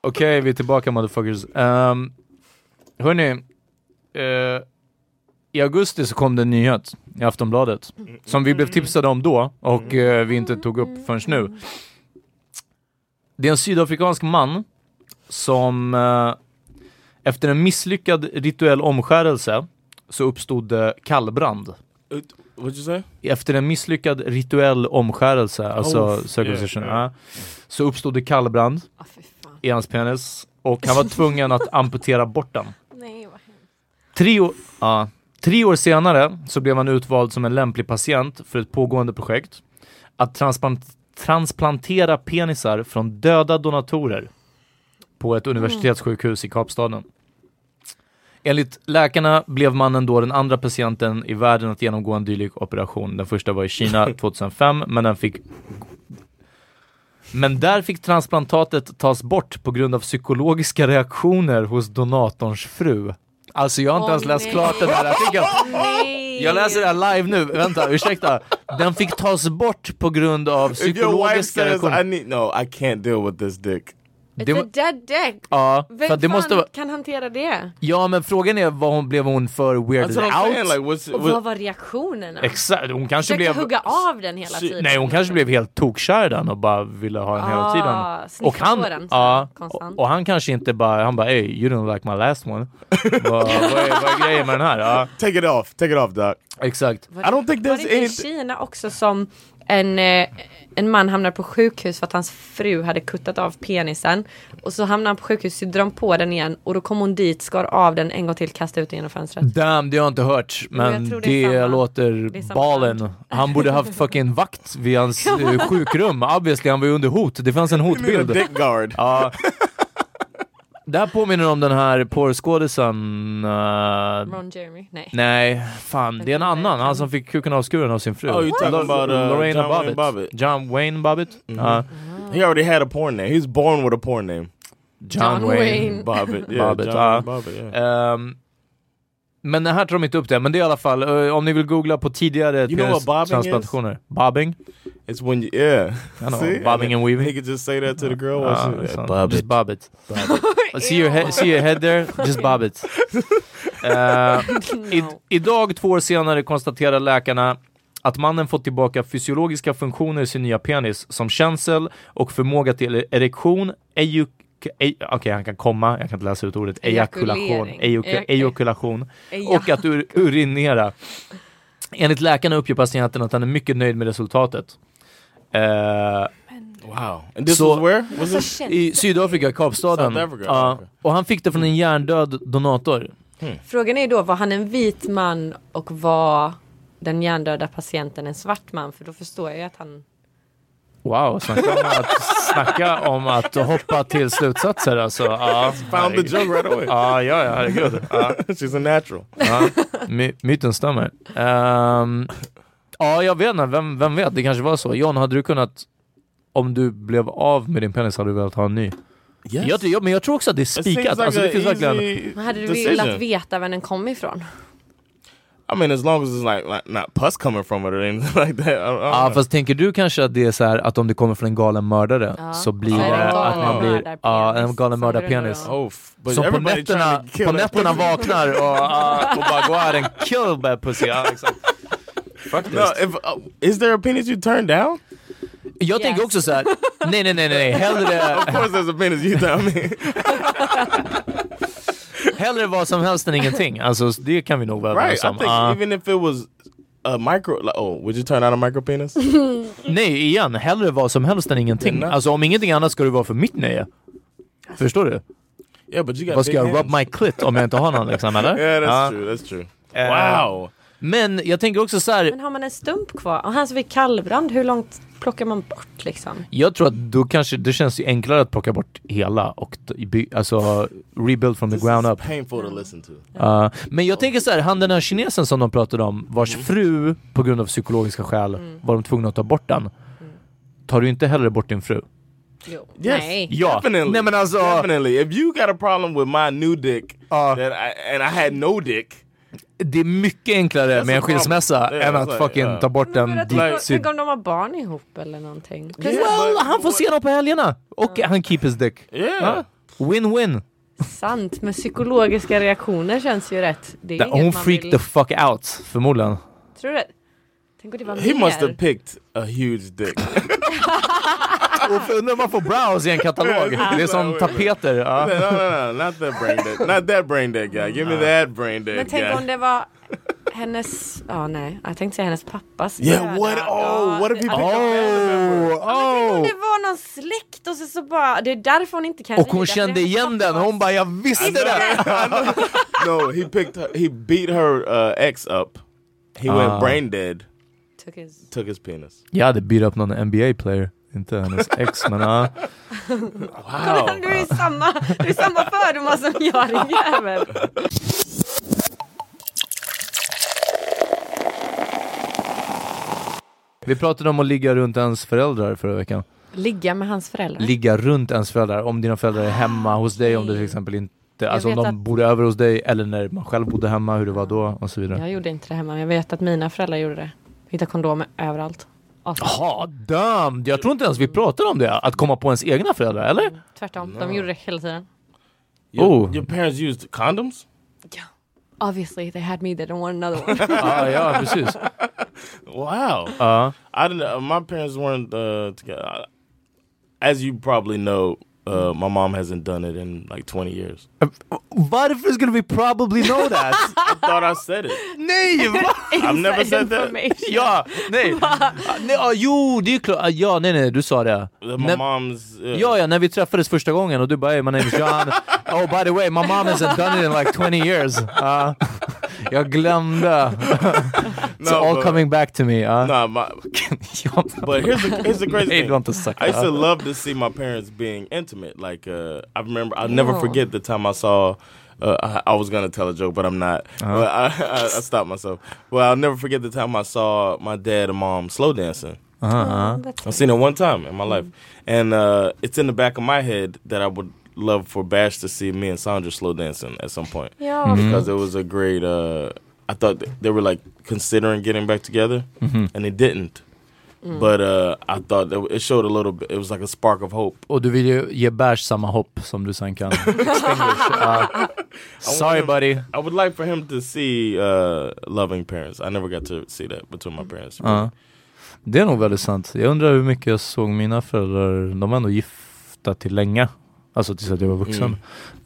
Okej, vi är tillbaka motherfuckers. Um, hörni, eh, i augusti så kom det en nyhet i Aftonbladet som vi blev
Mm.
tipsade om då och eh, vi inte tog upp förrän nu. Det är en sydafrikansk man som eh, efter en misslyckad rituell omskärelse så uppstod det kallbrand.
What'd you say?
Efter en misslyckad rituell omskärelse, alltså
Oh,
circumcision,
yeah, yeah.
ja, så uppstod det kallbrand
Ja, Ah, fy fan.
i hans penis och han var tvungen att amputera bort den.
Nej, vad hemskt.
Tre år, ja, tre år senare så blev han utvald som en lämplig patient för ett pågående projekt att transplant- transplantera penisar från döda donatorer på ett universitetssjukhus i Kapstaden. Enligt läkarna blev mannen då den andra patienten i världen att genomgå en dylik operation. Den första var i [LAUGHS] Kina 2005, men den fick men där fick transplantatet tas bort på grund av psykologiska reaktioner hos donatorns fru. Alltså jag har inte
Åh,
ens läst
nej.
klart den här artikeln.
[LAUGHS] Nej.
Ah! Jag läser det här live nu, vänta, ursäkta. Den fick tas bort på grund av
If your wife
psykologiska
says, I
reaktioner.
need, no, I can't deal with this dick.
It's
Det
a
må-
dead dick.
Ja,
Vem
för att det
fan
måste vara...
kan hantera det?
Ja men frågan är, vad hon, blev hon för
That's
weirded
what I'm saying.
out?
Alltså, Like, what's,
Och
what-
vad var reaktionerna?
Exakt, hon kanske
Försökte
blev...
hugga av den hela
Shit.
tiden.
Nej hon kanske blev helt tokkär i den och bara ville ha den hela
Ah,
tiden.
sniffa
Och han,
på den så
ja,
konstant.
och, och han kanske inte bara, han bara ey you don't like my last one. vad, vad, är, vad är grejen med den här? Ja,
take it off. Take it off, doc.
exakt.
I don't think
Var
there's
det inte i
anything.
Kina också som en, eh, en man hamnade på sjukhus för att hans fru hade kuttat av penisen och så hamnade han på sjukhus, sydde de på den igen och då kom hon dit, skar av den en gång till, kastade ut den genom fönstret.
Damn, det har jag inte hört, men
jag tror
det,
det är samma.
låter
Det är samma
balen.
land.
Han borde haft fucking vakt vid hans eh, sjukrum, obviously han var ju under hot, det fanns en
A
hotbild.
dick [LAUGHS] guard.
Ja. Det här påminner om den här porrskådisen... eh,
Ron Jeremy? Nej.
nej, fan, det är en annan, han som fick kuken avskuren av sin fru.
Oh, you're talking
Lo-
about, uh, John Wayne Bobbitt.
John Wayne Bobbitt?
Uh-huh.
Ja.
He already had a porn name. He was born with a porn name.
John,
John
Wayne.
Wayne.
[LAUGHS] Bobbitt. Yeah,
Bobbitt,
John
ah.
Wayne Bobbitt, yeah.
Ehm, men här tar de inte upp det, men det är i alla fall, eh, om ni vill googla på tidigare
You know what bobbing is?
transplantationer. Bobbing?
It's when you, yeah.
I don't
See?
know, bobbing and
He
weaving.
could just say that to the girl. while
Ah,
she-
so
Bob
Just
it.
bob it. see,
[LAUGHS]
your he- see your head there? Just
[LAUGHS]
bob it. Eh, i-
No.
idag, två år senare, konstaterar läkarna att mannen fått tillbaka fysiologiska funktioner i sin nya penis som känsel och förmåga till e-, erektion, ejuk ej- Okej, han kan komma, jag kan inte läsa ut ordet. Ejakulation.
Ejakulering.
Ejuk-
Eja-
ejakulation. Och att ur- urinera. Enligt läkarna uppger patienten att han är mycket nöjd med resultatet. Eh,
Wow. And this
So-
was where? Was
Alltså,
this?
I Sydafrika, Kapstaden.
South Africa.
Ja. och han fick det från en hjärndöd donator.
Frågan är ju då, var han en vit man och var den hjärndöda patienten en svart man? För då förstår jag ju att han...
Wow, snacka om att, snacka om att hoppa till slutsatser alltså. Ja,
Found the
herregud.
joke right [LAUGHS] away.
Ja, ja, ja, herregud. Ja,
[LAUGHS] She's a natural.
ja. My, myten stämmer. Ehm, ja, jag vet inte, vem, vem vet, det kanske var så. John, hade du kunnat, om du blev av med din penis, hade du velat ha en ny?
Yes.
Jag, jag, men jag tror också att det är spikat. Alltså, det finns verkligen...
Men hade du velat veta var den kom ifrån?
I mean, as long as it's like, like not pus coming from it or anything [LAUGHS] like that. I, I don't
Ja
know.
fast tänker du kanske att det är så här att om det kommer från en galen mördare så blir
Så är det
det
en
att
galen mördarpenis
man blir ja, en galen
som
mördarpenis.
grundar
Oh, f- but
Som på
everybody trying
nätterna,
to kill
på
that
nätterna
pussy.
vaknar och, ah, och bara går out and kill that pussy. Ja, exakt. Fuck
[LAUGHS]
this.
No, if, uh, is there a penis you turn down?
Jag
Yes.
tänker också så här. nej nej nej nej, hellre,
Of course, there's a penis you [LAUGHS]
[LAUGHS]
turn. I mean,
hellre vad som helst än ingenting. Alltså det kan vi nog vara
right? I
överens om.
think
Ah,
even if it was a micro, like, oh, would you turn out a micro
[LAUGHS]
penis?
nej igen, hellre vad som helst än ingenting. Alltså om ingenting annat ska det vara för mitt nöje. Förstår du?
yeah, but you got.
Vad ska
big
jag rub
hands.
my clit om jag inte har någon liksom
[LAUGHS]
eller?
Yeah, that's
Ah.
true. That's true. wow.
Men jag tänker också så här.
Men har man en stump kvar? Och han som fick kallbrand, hur långt plockar man bort liksom?
Jag tror att då kanske det känns ju enklare att plocka bort hela och t- by- alltså rebuild from the
This
ground
is
up.
painful to listen to.
Uh, men jag tänker så här, han den här kinesen som de pratade om, vars
Mm.
fru på grund av psykologiska skäl
Mm.
var de tvungna att ta bort den. Tar du inte heller bort din fru?
Jo.
Yes.
Nej.
Ja,
Definitely.
nej men alltså,
Definitely. If you got a problem with my new dick
Uh,
that I, and I had no dick,
det är mycket enklare
That's
med
a
en skilsmässa
problem. Yeah,
än
that's
att
like,
fucking
yeah.
ta bort
Men
den
vadå,
dit.
tänk, tänk om de har barn ihop eller någonting.
Well, han får se dem på helgerna! Och han keep his dick.
yeah.
Ja. Win-win!
Sant, men psykologiska reaktioner känns ju rätt. Det är
Där
inget
Hon
man
freak
vill...
the fuck out, förmodligen.
Tror du det? Tänk om det var
He must
mer.
have picked a huge dick.
Varför undrar man får browse i en
[LAUGHS]
katalog? Det är som tapeter.
no,
Ja.
no, no, not that brain dead. Not that brain dead guy. Give me that brain dead
Men tänk
guy.
om det var hennes, ja nej, jag tänkte säga hennes pappas
yeah,
döda.
what? Oh,
Ja,
what if
det-
he picked a family member?
Tänk om
Oh.
det var någon släkt och så, så bara, det är därför hon inte kan
Och hon
rida, för
kände
hennes
igen den,
pappa-
hon bara jag visste
Alltså,
det!
No, he picked. Her, he beat her uh, ex up. He
Ah.
went brain dead.
Took his-
Took his penis.
Jag hade beat upp någon NBA player, inte hennes ex men ja.
Kolla, du är samma, du är samma fördomar som jag din jävel.
Vi pratade om att ligga runt ens föräldrar förra veckan.
Ligga med hans föräldrar.
Ligga runt ens föräldrar, om dina föräldrar är hemma hos dig, om du till exempel inte, alltså om
vet
de
att-
bor över hos dig eller när man själv bodde hemma, hur det var då och så vidare.
Jag gjorde inte det hemma men jag vet att mina föräldrar gjorde det. Hittade kondomer överallt. Awesome.
Ja, damn! Jag tror inte ens vi pratade om det, att komma på ens egna föräldrar, eller?
Tvärtom, de gjorde det hela tiden.
Your,
Oh.
your parents used condoms.
Obviously they had me, they don't want another one.
Ja, ja precis.
Wow.
Ja.
I didn't. Uh, my parents weren't uh, together. I- As you probably know, uh, my mom hasn't done it in like 20 years.
Varför skulle vi probably know that?
I thought I said it.
nej! Va?
[LAUGHS] I've never said that.
Information.
[LAUGHS] Ja, nej. Ah, nej ah, jo, det är klart. Ah, Ja, nej, nej, du sa det.
My
När-
mom's. Uh,
Ja, ja, när vi träffades första gången och du bara hey, my name is John. oh, by the way, my mom hasn't done it in like 20 years. Ah, jag glömde. It's
No,
all
but-
coming back to me. Uh.
Nah, my,
[LAUGHS]
but here's the here's the crazy
nej,
thing.
du har inte sagt
I used to
det.
love to see my parents being intimate. Like uh, I remember, I'll never
Oh.
forget the time I saw. Uh, I, I was gonna tell a joke, but I'm not. But I, [LAUGHS] I, I stopped myself. Well, I'll never forget the time I saw my dad and mom slow dancing.
Uh-huh.
Oh,
I've seen it one time in my life, and uh, it's in the back of my head that I would love for Bash to see me and Sandra slow dancing at some point
Ja,
because it was a great. Uh, I thought th- they were like considering getting back together, and they didn't. But uh, I thought that it showed a little bit. It was like a spark of hope.
Och du vill ju ge Bash samma hopp som du sen kan extinguish. Ah. Sorry,
him-
buddy.
I would like for him to see uh, loving parents. I never got to see that between my parents.
Ja. Det är nog väldigt sant. Jag undrar hur mycket jag såg mina föräldrar. De var ändå gifta till länge. Alltså tills att jag var vuxen.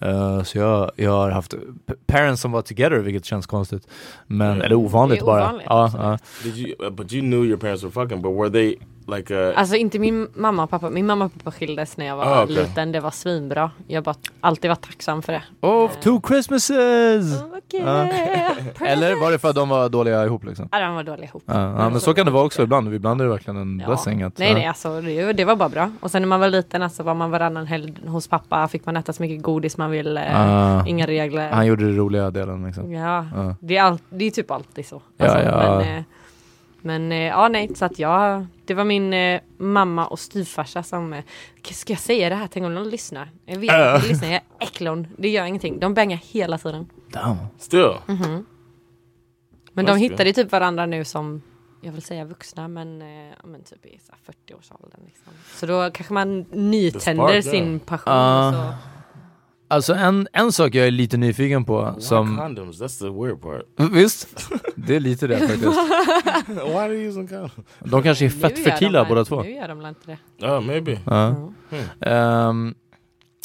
Eh, så jag, jag har haft p- parents som var together, vilket känns konstigt. Men,
Mm.
eller ovanligt
Det är
bara.
ovanligt,
Ja,
absolut.
ja.
Did you? uh, But you knew your parents were fucking. But were they like? Uh,
Alltså inte min mamma och pappa. Min mamma och pappa skildes när jag var
Ah, okej.
liten. Det var svinbra. Jag har bara alltid varit tacksam för det.
Of two Christmases!
Okej.
Ah,
Ja. Eller var det för att de var dåliga ihop liksom?
Ja, de var dåliga ihop.
Ja, ja, men så kan det vara också ibland. Ibland är det verkligen en
Ja.
blessing att...
nej, nej, alltså det, det var bara bra. Och sen när man var liten alltså, var man varannan helg hos pappa. Fick man äta så mycket godis man ville.
Ah.
Inga regler.
Han gjorde den roliga delen liksom.
Ja,
Ja.
Det, är all, det är typ alltid så.
Ja, ja.
Men, eh, men eh, ja, nej, så att jag, det var min eh, mamma och styvfarsa som, eh, "K- ska jag säga det här? Tänk om någon lyssnar? Jag vet att
Äh.
de lyssnar, jag är äcklon, det gör ingenting. De bangar hela tiden.
Damn.
still.
Men de
Måste
hittar ju typ varandra nu som, jag vill säga vuxna, men, eh, ja, men typ i så här 40-årsåldern. Liksom. Så då kanske man nytänder
spark, ja.
sin passion.
Ah.
så.
Alltså en, en sak jag är lite nyfiken på
Some
som...
condoms. That's the weird part.
[LAUGHS]
[LAUGHS]
Visst? Det är lite det faktiskt.
Why are you using condoms?
De kanske
Nu
är fett
gör de
fertila
väl-
båda två.
Nu gör de väl inte det.
Oh, maybe.
Ja.
Mm.
Ehm,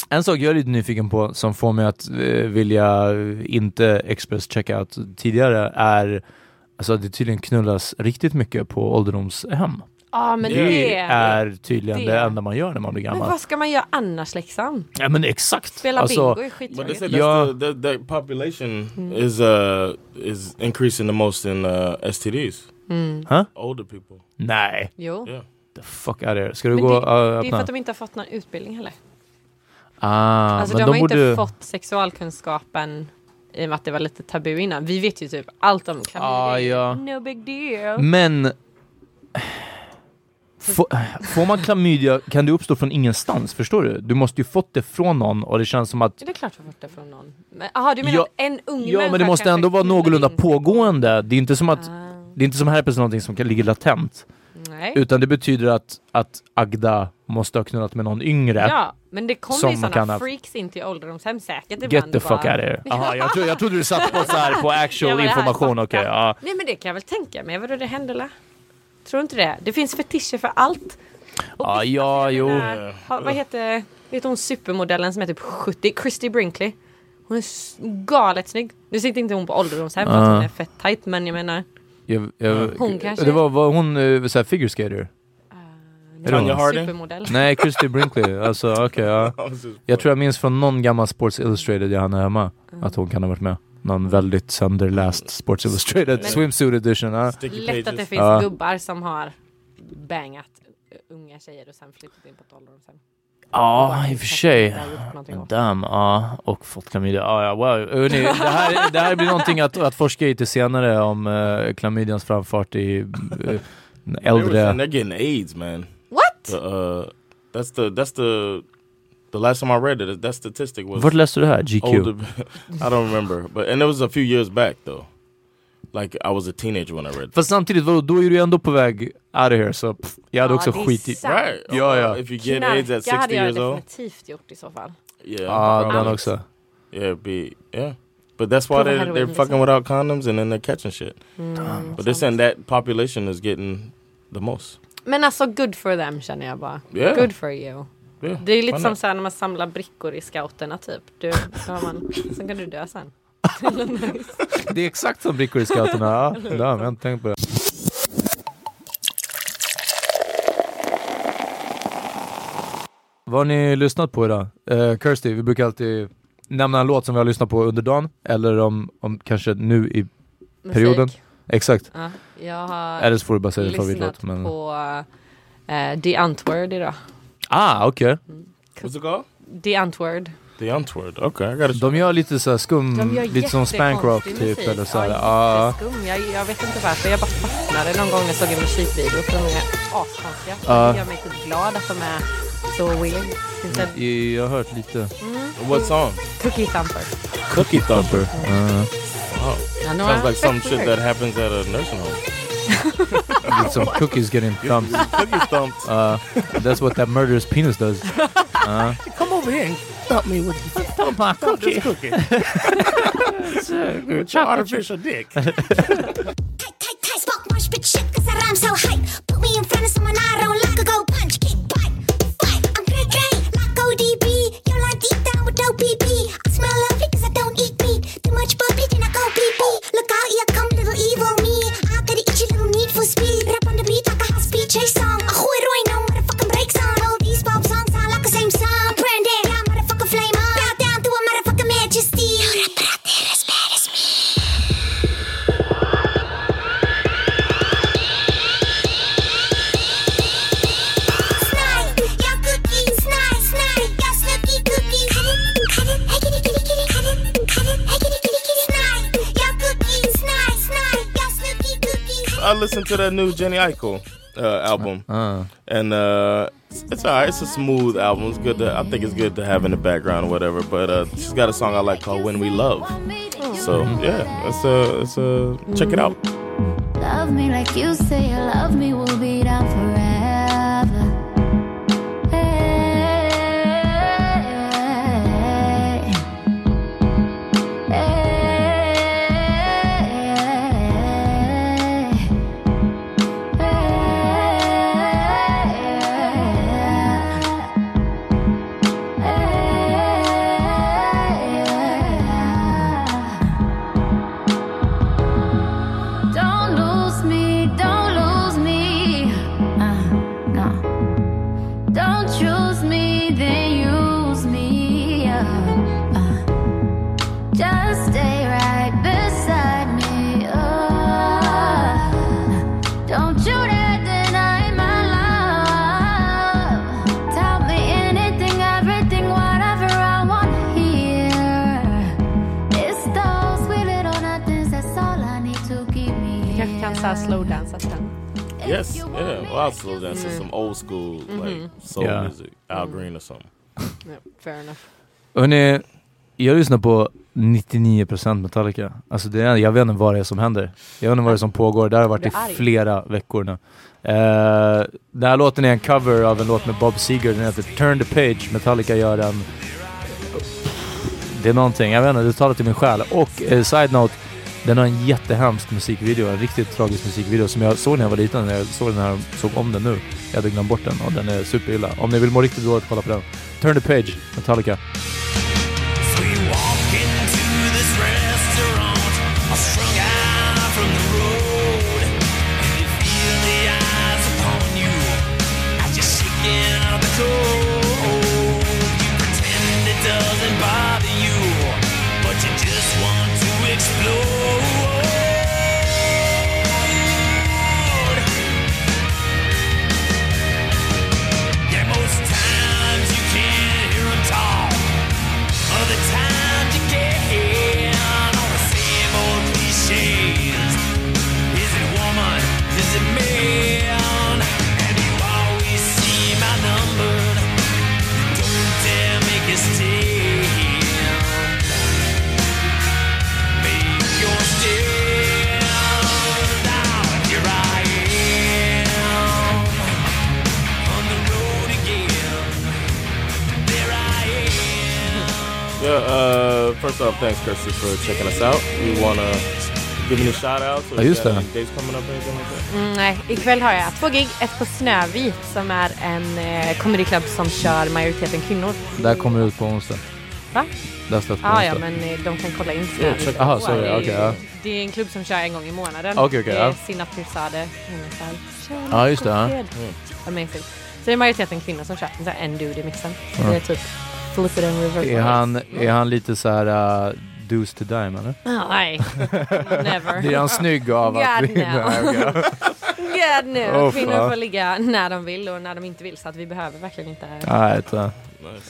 en sak jag är lite nyfiken på som får mig att eh, vilja inte expresschecka out tidigare är alltså att det tydligen knullas riktigt mycket på ålderdomshem.
Ja, men
Det
det
är tydligen det,
det.
enda man gör när man blir
Men
gammal.
vad ska man göra annars liksom?
ja men exakt!
Spela
alltså,
bingo är
But they
skittråkigt.
said that's
Yeah.
the, that, that population is uh is increasing the most in uh, STDs.
Huh?
Older people.
nej,
Jo.
Yeah.
the fuck out here. Ska du
Men
gå
det,
och uh,
det är för
öppna?
att de inte har fått någon utbildning heller.
Ah,
alltså de
men
har
de
inte
borde...
fått sexualkunskapen i och med att det var lite tabu innan. Vi vet ju typ allt om kan
Ah, ja.
No big deal.
Men... Få, får man klamydia kan det uppstå från ingenstans, förstår du? Du måste ju fått det från någon och det känns som att
Det är klart vi har fått det från någon. Men- Jaha, du menar
Ja.
att en ung
Ja men det
människa
måste
kanske
ändå vara
knullar
någorlunda
in-
pågående. Det är inte som att
Ah,
det är inte som herpes någonting som kan ligga latent.
nej.
Utan det betyder att, att Agda måste ha knullat med någon yngre.
Ja, men det kommer
Som
ju
kan ha-
sådana freaks in till ålderdomshem säkert ibland.
Get the
och
fuck out of
bara-
here. Aha, jag, tro, jag trodde du satt på, så här,
[LAUGHS]
på
Ja,
actual
men det här är
information.
fakta.
Okej, ja.
Nej men det kan jag väl tänka mig, vadå det händer la? Tror du inte det? Det finns fetischer för allt. Och
Ja, ja, jo.
Den här, ha, vad heter, vet hon supermodellen som är typ 70? Christy Brinkley. Hon är s- galet snygg. Nu sitter inte hon på ålderdomshem för att
Ja.
hon är fett tight men jag menar.
Jag, jag,
Hon kanske-
Det var, var hon eh, så här, figure skater?
nej,
Tanya
Harding?
Supermodell.
Nej, Christy Brinkley. Alltså, okej, [LAUGHS] ja.
I was just-
Jag tror jag minns från någon gammal Sports Illustrated jag hann hemma att hon kan ha varit med. Någon väldigt sönderläst Sports Illustrated
Men-
swimsuit edition. Ja.
Sticky
Lätt att det
pages.
finns
Ja.
gubbar som har bangat eh, unga tjejer och sen flyttat in på ett ålderdomshem.
Ja, i och för sig.
Har gjort någonting åt.
Damn, ja. Och fått klamydia. Ja, ja, wow. Hörrni, det, här, det här blir någonting att, att forska i till senare om eh, klamydians framfart i eh,
They were saying
äldre...
they're getting AIDS, man.
What?
The, uh, that's the that's the the last time I read it. That statistic was
Vart läste du det här? GQ?
older. [LAUGHS] I don't remember, but and it was a few years back though. Like I was a teenager when I read.
Fast samtidigt, vadå, då är du ändå på väg out of here så pff, jag hade
Ja,
också
det är
skit i...
sant.
Right.
Yeah,
Uh,
yeah.
If you get AIDS
Knarka
at 60
hade jag
years old,
definitivt gjort i så fall.
yeah,
Ja,
probably.
den också.
Yeah, it'd be yeah. But that's why
Prove how
they're,
to
they're
win,
fucking
listen.
without condoms and then they're catching shit. But they're saying that population is getting the most.
Men alltså good for them känner jag bara.
Yeah.
Good for you.
Yeah,
Det är
why
lite som
not?
så här när man samlar brickor i scouterna typ. Du, då har man, sen kan du dö sen.
Det är exakt som brickor i scouterna. Ja, damn, jag har inte tänkt på det. Vad har ni lyssnat på idag? Eh, Kirsty, vi brukar alltid nämna en låt som vi har lyssnat på under dagen, eller om, om kanske nu i...
Musik.
Perioden? Exakt.
Ja, jag har
Eller så får du bara säga din
lyssnat
favoritlåt. Men...
på eh, The Antword idag.
Ah, okej.
What's it called?
The Antword.
The Untword. Okay, I got it.
De gör lite så här skum,
De gör
Mm, lite som spank rock
jättekonstig
typ.
musik.
Eller så här.
Ja,
Ah,
jätteskum. Jag, jag vet inte varför. Jag bara fastnade någon gång när jag såg en musikvideo för de är askonstiga.
Ja.
Det gör mig typ glad att de är så weird. Det finns
Mm.
en
jag har hört lite.
Mm.
What song?
Cookie Thumper.
Cookie Thumper.
Ja, de är
Sounds like some
fett
shit
weird.
that happens at a nursing home.
[LAUGHS]
Lite som cookies getting thumped.
Cookie Thump.
Uh, that's what that murderous penis does.
Come over here and thump me with
Oh, my cookie. cookie. it's a it's an artificial dick.
Smoke, mosh, bitch, shit, cause I rhyme so hype. Put me in front of someone I don't like, I go punch, kick, bite, fight. I'm cray cray, like ODB. Yo, like deep down with no PP. I smell lovely cause I don't eat meat. Too much puppy, then I go pee pee. Look out, here come little evil me. I gotta eat your little need for speed. Rap on the beat like a high speed chase song. I gooi rooi, no motherfucking brakes on. All these pop songs sound like the same song. Brandon, yeah, motherfucking flame on. Bow down to a motherfucking majesty. Yo, that brat there is bad as me. Snide, your cookie, snide, snide, your snooky cookie. Cut it, cut it, hey kitty, kitty, kitty, cut it, cut it, hey kitty, kitty, kitty. Snide, your cookie, snide, snide, your snooky cookie.
I listened to that new Jenny Eichel uh, album, and uh, it's, it's all right. It's a smooth album. It's good. To, I think it's good to have in the background or whatever. But uh, she's got a song I like called "When We Love." So yeah, it's a it's a check it out.
Love me like you say you love me, we'll be down forever. Hey, hey, Don't lose me, don't lose me. Uh, no. Don't choose me, then use me. Uh, uh. Just stay right beside me. Uh, don't you dare deny my love. Tell me anything, everything, whatever I want to hear. It's those sweet little nothings, that's all I need to keep me
Kanske kan så här slowdansa sen.
Yes, yeah, well, I'll slow down to
Mm.
some old school like
Mhm.
soul
Yeah.
music, Al Green or something.
Ja, fair enough.
Hörrni, jag lyssnar på 99% Metallica. Alltså det är, jag vet inte vad det är som händer. Jag vet inte vad det är som pågår. Det här har varit i
Blir arg.
flera veckor nu. Eh, den här låten är en cover av en låt med Bob Seger. Den heter Turn the Page. Metallica gör den. Det är någonting, jag vet inte, det talar till min själ. Och eh, side-note, den har en jättehemsk musikvideo. En riktigt tragisk musikvideo som jag såg när jag var liten. Jag såg den här, såg om den nu. Jag hade glömt bort den och den är superilla. Om ni vill må riktigt dåligt, kolla på den. Turn the Page, Metallica.
Yeah, most times you can't hear 'em talk. Other times you can. All the same old cliches. Is it woman? Is it man? And you always see my number. You don't dare make it stand. Make your stand. Now here I am.
Yeah, uh, first off, thanks, Kirsty, for checking us out. We want to give any shout outs or
Ja, just det.
any dates coming up or anything like that.
Mm, nej, ikväll har jag två gig. Ett på Snövit som är en eh, comedyklubb som kör majoriteten kvinnor.
Det här kommer ut på onsdag.
Va?
Det här släpps på
Ah,
onsdag.
ja, men eh, de kan kolla in
Ja,
Snövit.
check- aha, sorry,
Det är-
okej, ja.
Det är en klubb som kör en gång i månaden.
Okej, okej,
det är
ja.
Sinat Pirzadeh, hennes här, kärlek
Ja, just det,
och
ja.
fred.
Mm.
Amazing. Så det är majoriteten kvinnor som kör. Så här, en dude i mixen. Så
Ja.
Det är typ flip it and reverse.
Är han, är han lite så här uh, deuce to dime eller?
Ah,
[LAUGHS]
nej. Never.
Blir han snygg av att [LAUGHS]
God
vi...
no.
Nej, okej.
God nu.
Åh,
Kvinnor
fan.
får ligga när de vill och när de inte vill så att vi behöver verkligen inte
Nej, vet du.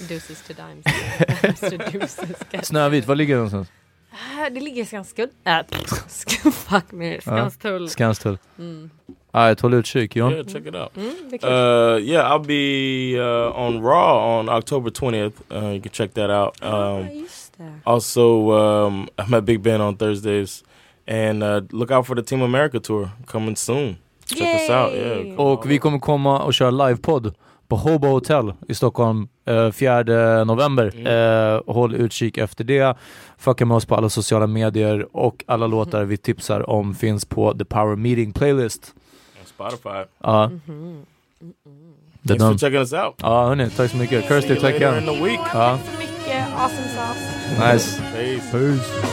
deuces to
[LAUGHS]
dimes. to deuces. God.
Snövit, var ligger den någonstans?
Ah, Det ligger i Skanstull. Äh, pff, sk- fuck me. Skanstull.
Ja, Skanstull.
Mm.
Alright, håll utkik John.
Yeah, check it out.
Mm, det är
Eh,
klart.
Uh, yeah, I'll be uh, on Raw on October 20th. Uh, you can check that out.
Oh,
Um,
ehm.
also, um, I'm at Big Ben on Thursdays. And uh, look out for the Team America tour coming soon. Check us out. Yeah.
Och vi kommer komma och köra livepodd på Hobo Hotel i Stockholm eh, 4 november. Eh, håll utkik efter det. Fucka med oss på alla sociala medier och alla låtar vi tipsar om finns på The Power Meeting Playlist.
Spotify.
Ja. Det är
Thanks for
dem.
checking us out.
Ja, hörni, tack så mycket. Kirsty,
See you
tack
later
igen.
in the week.
Ja,
Mycket awesome sauce.
nice.
Peace.
Peace.